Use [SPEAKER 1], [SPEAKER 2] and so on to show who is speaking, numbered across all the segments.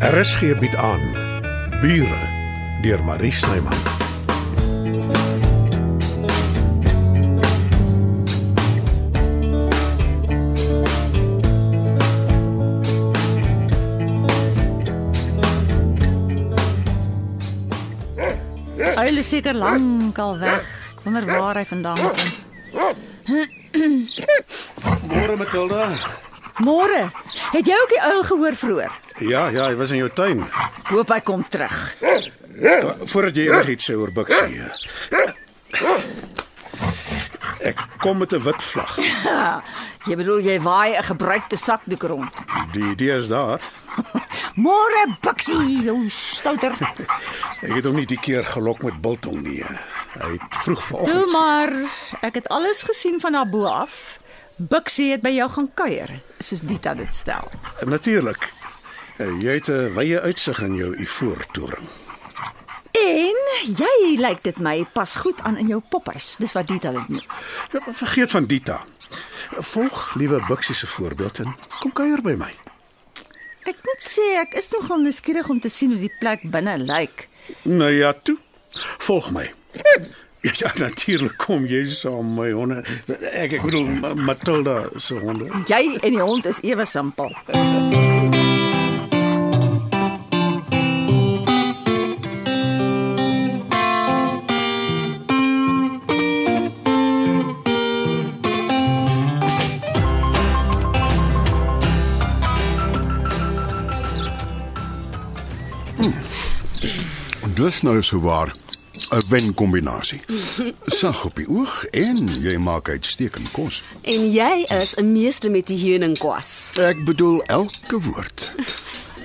[SPEAKER 1] RSG bied aan Bure deur Marie Snyman.
[SPEAKER 2] Hulle is seker lank al weg. Ek wonder waar hy vandaan kom.
[SPEAKER 1] Môre Matilda.
[SPEAKER 2] Môre. Het jy ook die ou gehoor vroeër?
[SPEAKER 1] Ja, ja, hy was in jou tuin.
[SPEAKER 2] Hoop hy kom terug.
[SPEAKER 1] Voordat jy enigiets sê oor Bixie. Ek kom met 'n wit vlag.
[SPEAKER 2] Jy bedoel jy waai 'n gebruikte sakdoek rond.
[SPEAKER 1] Die idee is daar.
[SPEAKER 2] Môre Bixie, jou stouter.
[SPEAKER 1] Ek het hom nie die keer gelok met biltong nie. Hy het vroeg vanoggend.
[SPEAKER 2] Toe maar, ek het alles gesien van daarbo af. Bixie het by jou gaan kuier, soos Dita dit stel.
[SPEAKER 1] Natuurlik. Eh, Jy het 'n wye uitsig in jou ivoortoring.
[SPEAKER 2] En jy lyk dit my pas goed aan in jou pophuis. Dis wat Dita dit noem.
[SPEAKER 1] Ja, maar vergeet van Dita. Volg liewe Bixie se voorbeeld en kom kuier by my.
[SPEAKER 2] Ek moet sê ek is nogal nuuskierig om te sien hoe die plek binne lyk.
[SPEAKER 1] Nou ja, toe. Volg my. Ja, natuurlik kom jy saam my honde. Ek ek bedoel Ma- Matilda se honde.
[SPEAKER 2] Jy en die hond is ewe simpel.
[SPEAKER 3] Dis nou so waar 'n wen kombinasie. Sag op die oog en jy maak uitstekend kos.
[SPEAKER 4] En jy is 'n meester met die heuningkwas.
[SPEAKER 3] Ek bedoel elke woord.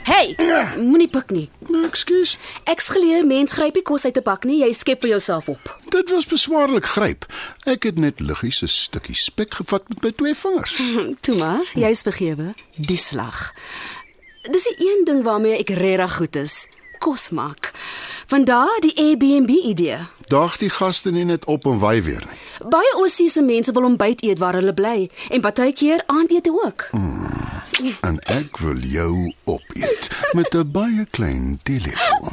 [SPEAKER 4] Hey, moenie pik nie.
[SPEAKER 3] Nou, Ekskuus,
[SPEAKER 4] Ek's geleer mens gryp nie kos uit 'n bak nie, jy skep vir jouself op.
[SPEAKER 3] dit was beswaarlik gryp. Ek het net liggies 'n stukkie spek gevat met my twee vingers.
[SPEAKER 4] Toe maar, jy's vergewe. Die slag. Dis die een ding waarmee ek regtig goed is. Kos maak. Vandaar die Airbnb idee.
[SPEAKER 3] Daag die gaste nie net op en wy weer nie.
[SPEAKER 4] Baie Ossiese mense wil ontbyt eet waar hulle bly en partykeer aandete ook.
[SPEAKER 3] En ek wil jou opeet met 'n baie klein teelepel.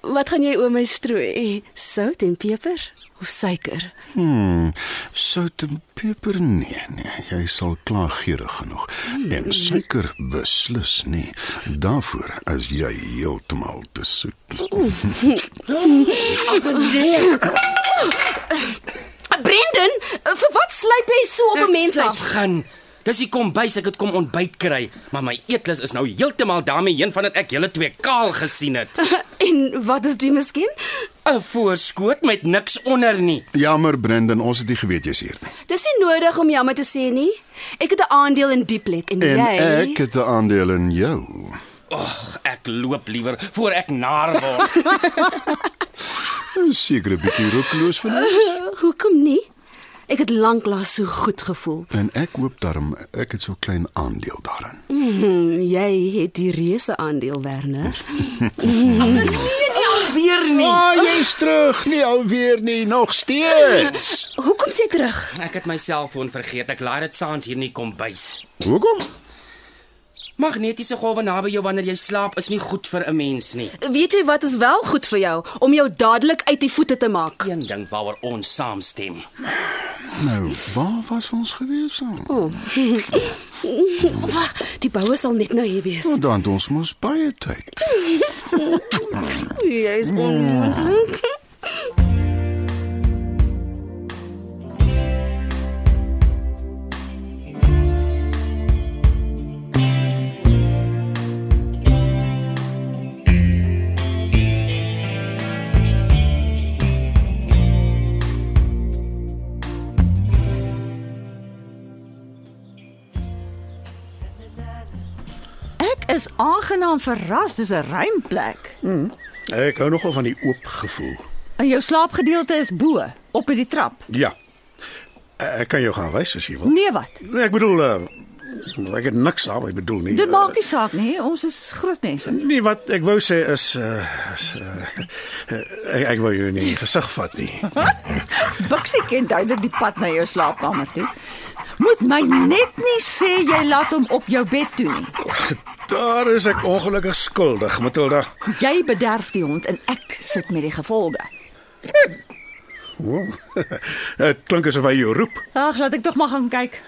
[SPEAKER 4] Wat gaan jy oor my strooi? Sout en peper of suiker?
[SPEAKER 3] Hmm, sout en peper nee, nee, jy sal klaar gierig genoeg. En suiker beslis nie. Daarvoor as jy heeltemal te soet.
[SPEAKER 5] nee.
[SPEAKER 4] Brendan, vir wat slyp jy so op 'n mens af?
[SPEAKER 5] gaan. Dis die kombuis ek het kom ontbyt kry, maar my eetlus is nou heeltemal daarmee heen van dat ek julle twee kaal gesien het.
[SPEAKER 4] En wat is dit miskien?
[SPEAKER 5] 'n Voorskoot met niks onder nie.
[SPEAKER 3] Jammer Brendan, ons het nie geweet jy's hier nie.
[SPEAKER 4] Dis nie nodig om jammer te sê nie. Ek het 'n aandeel in die plek en,
[SPEAKER 3] En
[SPEAKER 4] jy.
[SPEAKER 3] ek het 'n aandeel in jou.
[SPEAKER 5] Ag, ek loop liewer voor ek naar word.
[SPEAKER 3] Dis seker 'n bietjie roekeloos van my.
[SPEAKER 4] Hoekom nie? Ek het lanklaas so goed gevoel.
[SPEAKER 3] En ek hoop daarom ek het so klein aandeel daarin.
[SPEAKER 4] Mm, jy het die reuse aandeel, Werner.
[SPEAKER 5] Weer nie.
[SPEAKER 3] Ah, jy's terug, nie alweer nie, nog steeds.
[SPEAKER 4] Hoekom sê terug?
[SPEAKER 5] Ek het my selfoon vergeet. Ek laai dit saans hier in die kombuis.
[SPEAKER 3] Hoekom?
[SPEAKER 5] Magnetiese golwe naby jou wanneer jy slaap is nie goed vir 'n mens nie.
[SPEAKER 4] Weet jy wat is wel goed vir jou om jou dadelik uit die voete te maak?
[SPEAKER 5] Een ding waaroor ons saamstem.
[SPEAKER 3] Nou, waar was ons gewees dan?
[SPEAKER 4] Wag, die bouer sal net nou hier wees.
[SPEAKER 3] Nou, Dan het ons mos baie tyd.
[SPEAKER 4] Jy is onmoontlik.
[SPEAKER 2] Ek is aangenaam verras, dis 'n ruim plek.
[SPEAKER 1] Ek hou nogal van die oop gevoel.
[SPEAKER 2] En jou slaapgedeelte is bo, op die trap.
[SPEAKER 1] Ja. Ek kan jou gaan wys as jy wil.
[SPEAKER 2] Nee wat?
[SPEAKER 1] Nee, ek bedoel uh, ek het niks aan, ek bedoel nie.
[SPEAKER 2] Dit maak nie saak nie, ons is groot mense.
[SPEAKER 1] nie wat ek wou sê is uh, is, uh ek, ek wou jou nie in die gesig vat nie.
[SPEAKER 2] Bixie ken duidelik die pad na jou slaapkamer toe. Moet my net nie sê jy laat hom op jou bed toe nie.
[SPEAKER 1] Daar is ek ongelukkig skuldig, Matilda.
[SPEAKER 2] Jy bederf die hond en ek sit met die gevolge.
[SPEAKER 1] Wow. Dit klink asof hy jou roep.
[SPEAKER 2] Ag, laat ek tog maar gaan kyk.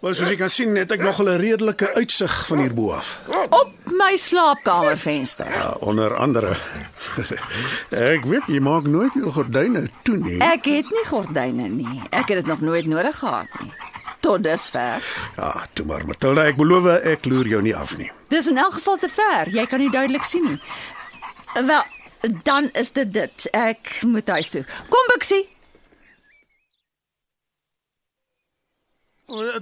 [SPEAKER 1] Maar soos jy kan sien, het ek nog 'n redelike uitsig van hierbo af.
[SPEAKER 2] Op my slaapkamervenster.
[SPEAKER 1] Ja, onder andere. ek weet jy maak nooit jou gordyne toe nie.
[SPEAKER 2] Ek het nie gordyne nie. Ek het dit nog nooit nodig gehad nie. Tot dusver.
[SPEAKER 1] Ja, toe maar Matilda, ek beloof ek loer jou nie af nie.
[SPEAKER 2] Dis in elk geval te ver. Jy kan nie duidelik sien nie. Wel, dan is dit dit. Ek moet huis toe. Kom Bixie.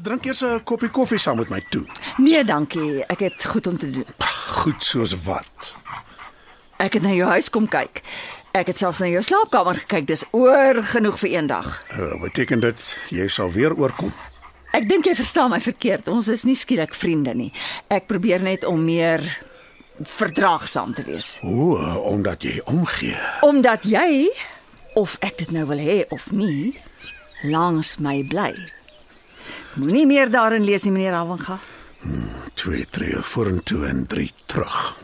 [SPEAKER 1] Drink eers 'n koppie koffie saam met my toe.
[SPEAKER 2] Nee, dankie. Ek het goed om te doen.
[SPEAKER 1] Goed soos wat.
[SPEAKER 2] Ek het na jou huis kom kyk. Ek het selfs na jou slaapkamer gekyk. Dis oor genoeg vir een dag.
[SPEAKER 1] Uh, beteken dit jy sal weer oorkom?
[SPEAKER 2] Ek dink jy verstaan my verkeerd. Ons is nie skielik vriende nie. Ek probeer net om meer verdraagsaam te wees.
[SPEAKER 1] O, omdat jy omgee.
[SPEAKER 2] Omdat jy of ek dit nou wil hê of nie, langs my bly. Moenie meer daarin lees nie, meneer Avanga.
[SPEAKER 1] 2 tree vorentoe en 3 terug.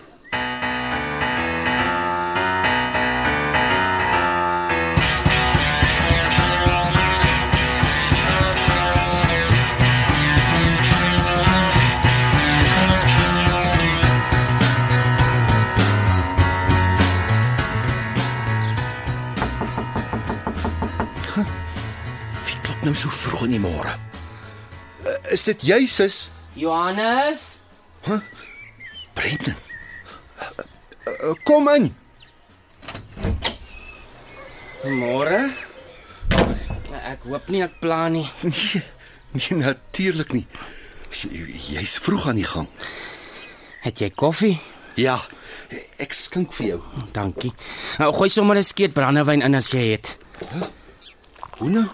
[SPEAKER 3] Wie klop nou so vroeg in die môre? Eh, Is dit jy, sis?
[SPEAKER 5] Johannes,
[SPEAKER 3] Brendan. Eh, Kom in.
[SPEAKER 5] môre. Ek hoop nie ek pla nie.
[SPEAKER 3] Nee, nee natuurlik nie. Jy- Jy's vroeg aan die gang.
[SPEAKER 5] Het jy koffie?
[SPEAKER 3] Ja, ek skink vir jou.
[SPEAKER 5] Dankie. Nou gooi sommer 'n skeet brandewyn in as jy het.
[SPEAKER 3] Hoe nou?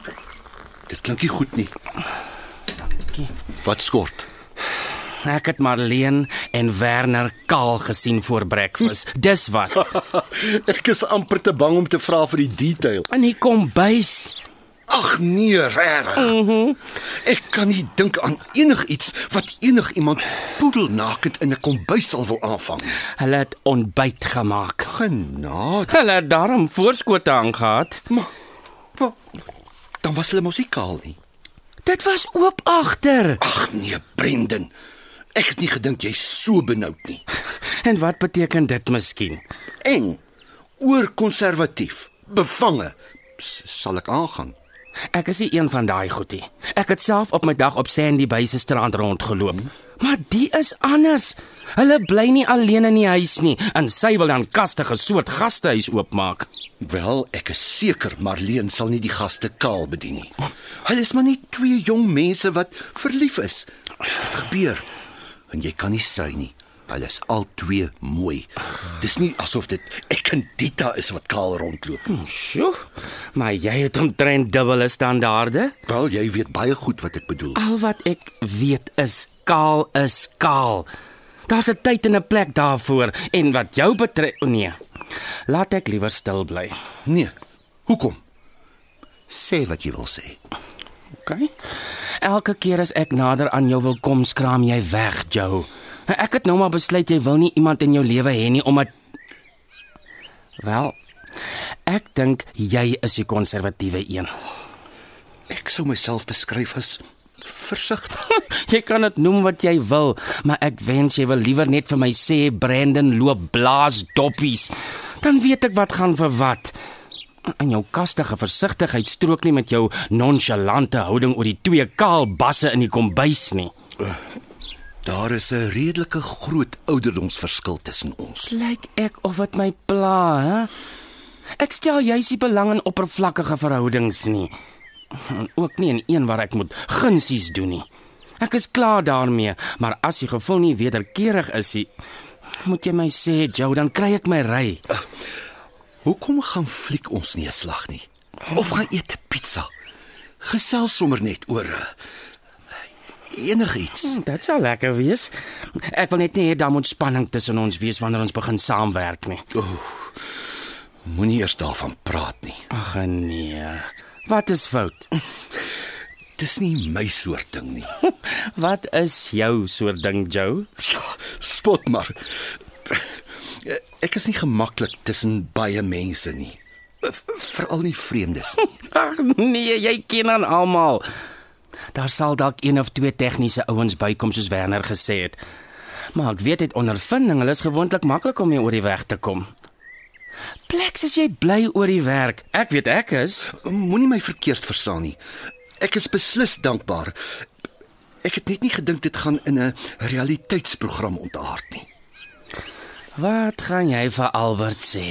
[SPEAKER 3] Dit klink nie goed nie. Wat skort?
[SPEAKER 5] Ek het Marleen en Werner kaal gesien voor breakfast. Dis wat.
[SPEAKER 3] ek is amper te bang om te vra vir die detail.
[SPEAKER 5] In die kombuis.
[SPEAKER 3] Ag nee, regtig. Mhm. ek kan nie dink aan enigiets wat enigiemand poedelnakend in 'n kombuis sal wil aanvang.
[SPEAKER 5] Hulle het ontbyt gemaak.
[SPEAKER 3] Genade.
[SPEAKER 5] Hulle het daarom voorskote aangehad.
[SPEAKER 3] Maar, maar dan was hulle musikaal nie.
[SPEAKER 5] Dit was oop agter.
[SPEAKER 3] Ag nee, Brendan. Ek het nie gedink jy's so benoud nie.
[SPEAKER 5] En wat beteken dit miskien?
[SPEAKER 3] Eng, oorkonservatief, bevange. S sal ek aangaan.
[SPEAKER 5] Ek is nie een van daai goetie. Ek het self op my dag op Sandy Bay se strand rondgeloop. Maar die is anders. Hulle bly nie alleen in die huis nie en sy wil dan kastige soort gastehuis oopmaak.
[SPEAKER 3] Wel, ek is seker Marleen sal nie die gaste kaal bedien nie. Hulle is maar net twee jong mense wat verlief is. Dit gebeur en jy kan nie strei nie. Hulle is al twee mooi. Dis nie asof dit ek en Dita is wat kaal rondloop.
[SPEAKER 5] Sjoe. Maar jy het omtrent dubbele standaarde.
[SPEAKER 3] Wel, jy weet baie goed wat ek bedoel.
[SPEAKER 5] Al wat ek weet is kaal is kaal. Daar's 'n tyd en 'n plek daarvoor en wat jou betref, o nee. Laat ek liewer stil bly.
[SPEAKER 3] Nee. Hoekom? Sê wat jy wil sê.
[SPEAKER 5] OK. Elke keer as ek nader aan jou wil kom, skraam jy weg, Joe. Ek het nou maar besluit jy wil nie iemand in jou lewe hê nie omdat Wel, ek dink jy is die konservatiewe een.
[SPEAKER 3] Ek sou myself beskryf as versigtig.
[SPEAKER 5] Jy kan dit noem wat jy wil, maar ek wens jy wil liewer net vir my sê Brandon loop blaas doppies. Dan weet ek wat gaan vir wat. En jou kastige versigtigheid strook nie met jou nonchalante houding oor die twee kaal basse in die kombuis nie.
[SPEAKER 3] Daar is 'n redelike groot ouderdomsverskil tussen ons.
[SPEAKER 5] Lyk ek of dit my pla, hè? Ek stel juis nie belang in oppervlakkige verhoudings nie. En Ook nie in een waar ek moet gunsies doen nie. Ek is klaar daarmee, maar as die gevoel nie wederkerig is nie, moet jy my sê, Joe, dan kry ek my ry.
[SPEAKER 3] Hoekom gaan fliek ons nie 'n slag nie? Of gaan eet 'n pizza? Gesels sommer net oor eh, enigiets.
[SPEAKER 5] Dit sal lekker wees. Ek wil net nie hê daar moet spanning tussen ons wees wanneer ons begin saamwerk nie.
[SPEAKER 3] Moenie eers daarvan praat nie.
[SPEAKER 5] Ag nee. Wat is fout?
[SPEAKER 3] Dis nie my soort ding nie.
[SPEAKER 5] Wat is jou soort ding, Joe?
[SPEAKER 3] Ja, spot maar. Ek is nie gemaklik tussen baie mense nie. Veral nie vreemdes nie.
[SPEAKER 5] Ag nee, jy ken aan almal. Daar sal dalk een of twee tegniese ouens bykom soos Werner gesê het. Maar ek weet uit ondervinding, hulle is gewoonlik maklik om mee oor die weg te kom. Plex, as jy bly oor die werk. Ek weet ek is.
[SPEAKER 3] Moenie my verkeerd verstaan nie. Ek is beslis dankbaar. Ek het net nie gedink dit gaan in 'n realiteitsprogram ontaard nie.
[SPEAKER 5] Wat gaan jy vir Albert sê?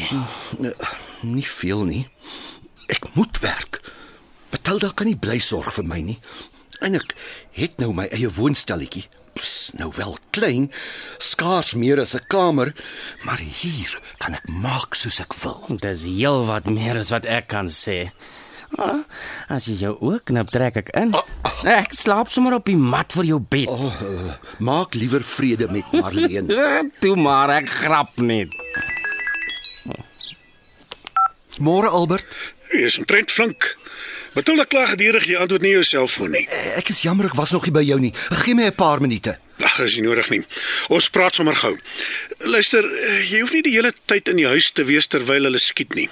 [SPEAKER 3] Nie veel nie. Ek moet werk. Matilda kan nie bly sorg vir my nie. En ek het nou my eie woonstelletjie. Ps, Nou wel klein, skaars meer as 'n kamer, maar hier kan ek maak soos ek wil.
[SPEAKER 5] Dis heel wat meer as wat ek kan sê. Ah, As jy jou oë knip, trek ek in. Ek slaap sommer op die mat voor jou bed.
[SPEAKER 3] Oh, eh, maak liewer vrede met Marleen.
[SPEAKER 5] Ah, Toe maar ek grap net.
[SPEAKER 3] Môre Albert,
[SPEAKER 1] Jy is omtrent flink. Matilda kla gedurig jy antwoord nie jou selfoon nie.
[SPEAKER 3] ek is jammer ek was nog nie by jou nie. Gee my 'n paar minute.
[SPEAKER 1] Ag, is nie nodig nie. Ons praat sommer gou. Luister, eh, jy hoef nie die hele tyd in die huis te wees terwyl hulle skiet nie.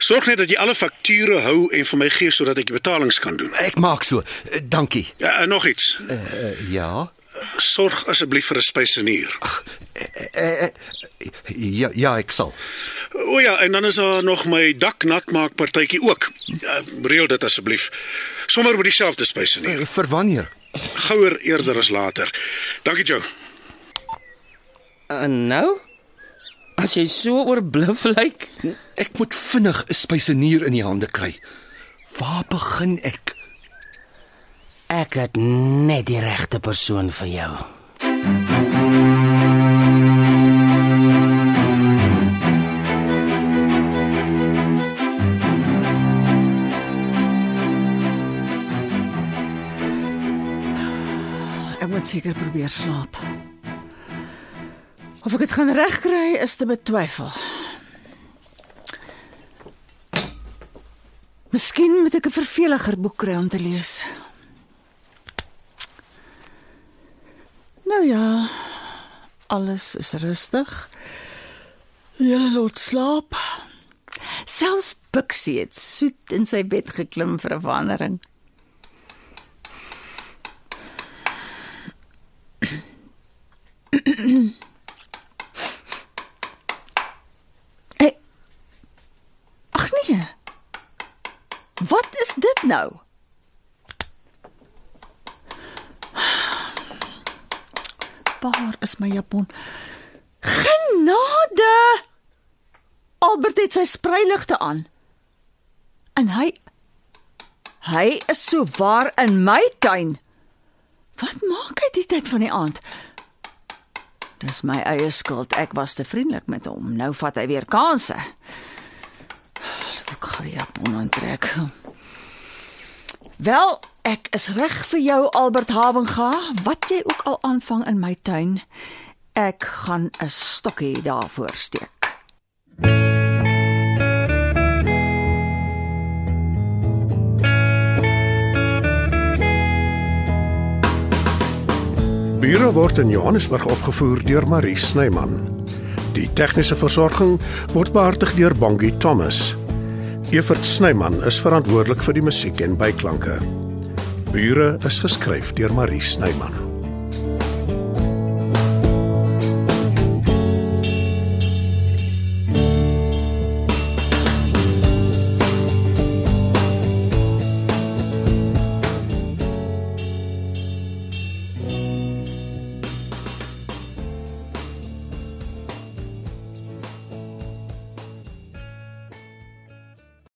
[SPEAKER 1] Sorg net dat jy alle fakture hou en vir my gee sodat ek die betalings kan doen.
[SPEAKER 3] Ek maak so. Eh, Dankie.
[SPEAKER 1] Ja, en nog iets.
[SPEAKER 3] Uh, ja.
[SPEAKER 1] Sorg asseblief vir 'n spysenuur.
[SPEAKER 3] Uh, ja ja, ek sal.
[SPEAKER 1] O ja, en dan is daar nog my daknatmaak partytjie ook. Ja, Reël dit asseblief. Sommer met dieselfde spysenuur.
[SPEAKER 3] Eh, Vir wanneer?
[SPEAKER 1] Gouer eerder as later. Dankie, Joe.
[SPEAKER 5] En nou? As jy so oorbluf lyk,
[SPEAKER 3] Ek moet vinnig 'n spysenier in die hande kry. Waar begin ek?
[SPEAKER 5] ek het net die regte persoon vir jou.
[SPEAKER 2] Ek moet seker probeer slaap. Of ek dit gaan regkry is te betwyfel. Miskien moet ek 'n verveliger boek kry om te lees. Nou ja, alles is rustig. Julle lot slaap. Selfs Bixie het soet in sy bed geklim vir 'n verandering. Hey. Ag nee. Wat is dit nou? Waar is my japon? Genade! Albert het sy spreiligte aan. En hy hy is so waar in my tuin. Wat maak hy die tyd van die aand? Dis my eie skuld. Ek was te vriendelik met hom. Nou vat hy weer kansse. Laat ek gou die japon aantrek. Wel, ek is reg vir jou Albert Havenga, wat jy ook al aanvang in my tuin. Ek gaan 'n stokkie daarvoor steek.
[SPEAKER 6] Bure word in Johannesburg opgevoer deur Marie Snyman. Die tegniese versorging word behartig deur Bongie Thomas. Evert Snyman is verantwoordelik vir die musiek en byklanke. Bure is geskryf deur Marie Snyman.